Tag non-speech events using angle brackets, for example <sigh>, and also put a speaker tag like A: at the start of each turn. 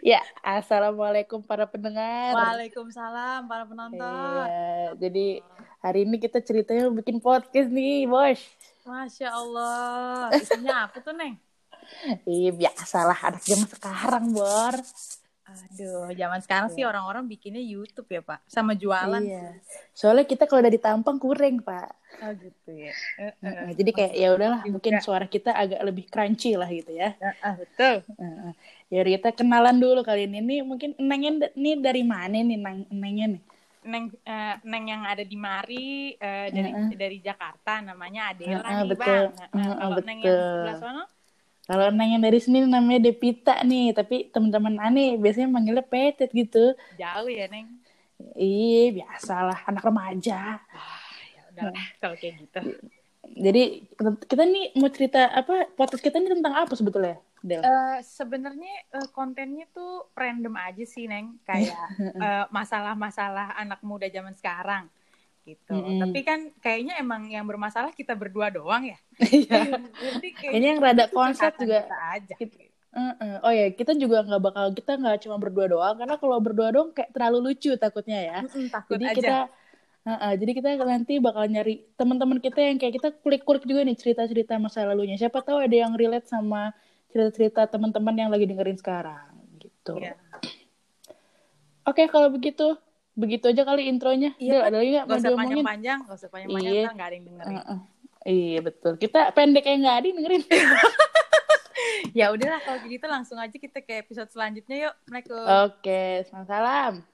A: Ya, assalamualaikum para pendengar.
B: Waalaikumsalam para penonton.
A: Iya, jadi hari ini kita ceritanya bikin podcast nih, Bos.
B: Masya Allah. Isinya apa tuh, Neng?
A: Iya, biasalah anak zaman sekarang, Bor.
B: Aduh, zaman sekarang sih orang-orang bikinnya YouTube ya, Pak. Sama jualan.
A: Iya. Soalnya kita kalau dari tampang kurang, Pak.
B: Oh, gitu ya. Eh, eh,
A: Nah, jadi kayak ya udahlah,
B: Juga.
A: mungkin suara kita agak lebih crunchy lah gitu ya.
B: eh, eh, betul.
A: Heeh. Ya udah, kita kenalan dulu kali ini. Nih, mungkin nengnya da- nih dari mana nih neng nengnya nih?
B: Neng eh, Neng yang ada di Mari eh, dari
A: Heeh.
B: dari Jakarta namanya Adela
A: Heeh,
B: nih,
A: betul.
B: Bang. Eh, eh,
A: Heeh,
B: kalau Neng yang
A: betul.
B: sebelah sono
A: Kalau neng yang dari sini namanya Depita nih, tapi teman-teman aneh biasanya manggilnya Petet gitu.
B: jauh ya, Neng.
A: Iya, biasalah anak remaja.
B: Ya udahlah, kalau kayak gitu.
A: Jadi kita nih mau cerita apa? Podcast kita nih tentang apa sebetulnya? Del?
B: <laughs> Eh, sebenarnya eh, kontennya tuh random aja sih
A: <laughs>
B: neng kayak eh, masalah-masalah anak muda zaman sekarang gitu
A: Mm-mm.
B: tapi kan kayaknya emang yang bermasalah kita berdua doang ya
A: Iya.
B: jadi
A: Ini yang rada konsep
B: kata-kata
A: juga.
B: aja gitu.
A: Heeh. Oh ya, kita juga nggak bakal kita nggak cuma berdua doang karena kalau berdua doang kayak terlalu lucu takutnya ya.
B: Mm-mm, takut
A: Jadi
B: aja
A: kita Heeh, jadi kita nanti bakal nyari teman-teman kita yang kayak kita kulik-kulik juga nih cerita-cerita masa lalunya. Siapa tahu ada yang relate sama cerita-cerita teman-teman yang lagi dengerin sekarang gitu.
B: Iya.
A: Oke, kalau begitu begitu aja kali intronya. Del, ada lagi nggak
B: gak
A: mau
B: Iya, usah
A: diomongin?
B: panjang-panjang gak usah panjang-panjang
A: Iya.
B: ntar nggak ada yang dengerin
A: Heeh. Iya betul. Kita pendek kayak nggak ada yang dengerin.
B: ya udahlah kalau gitu langsung aja kita ke episode selanjutnya yuk mereka
A: Oke, salam.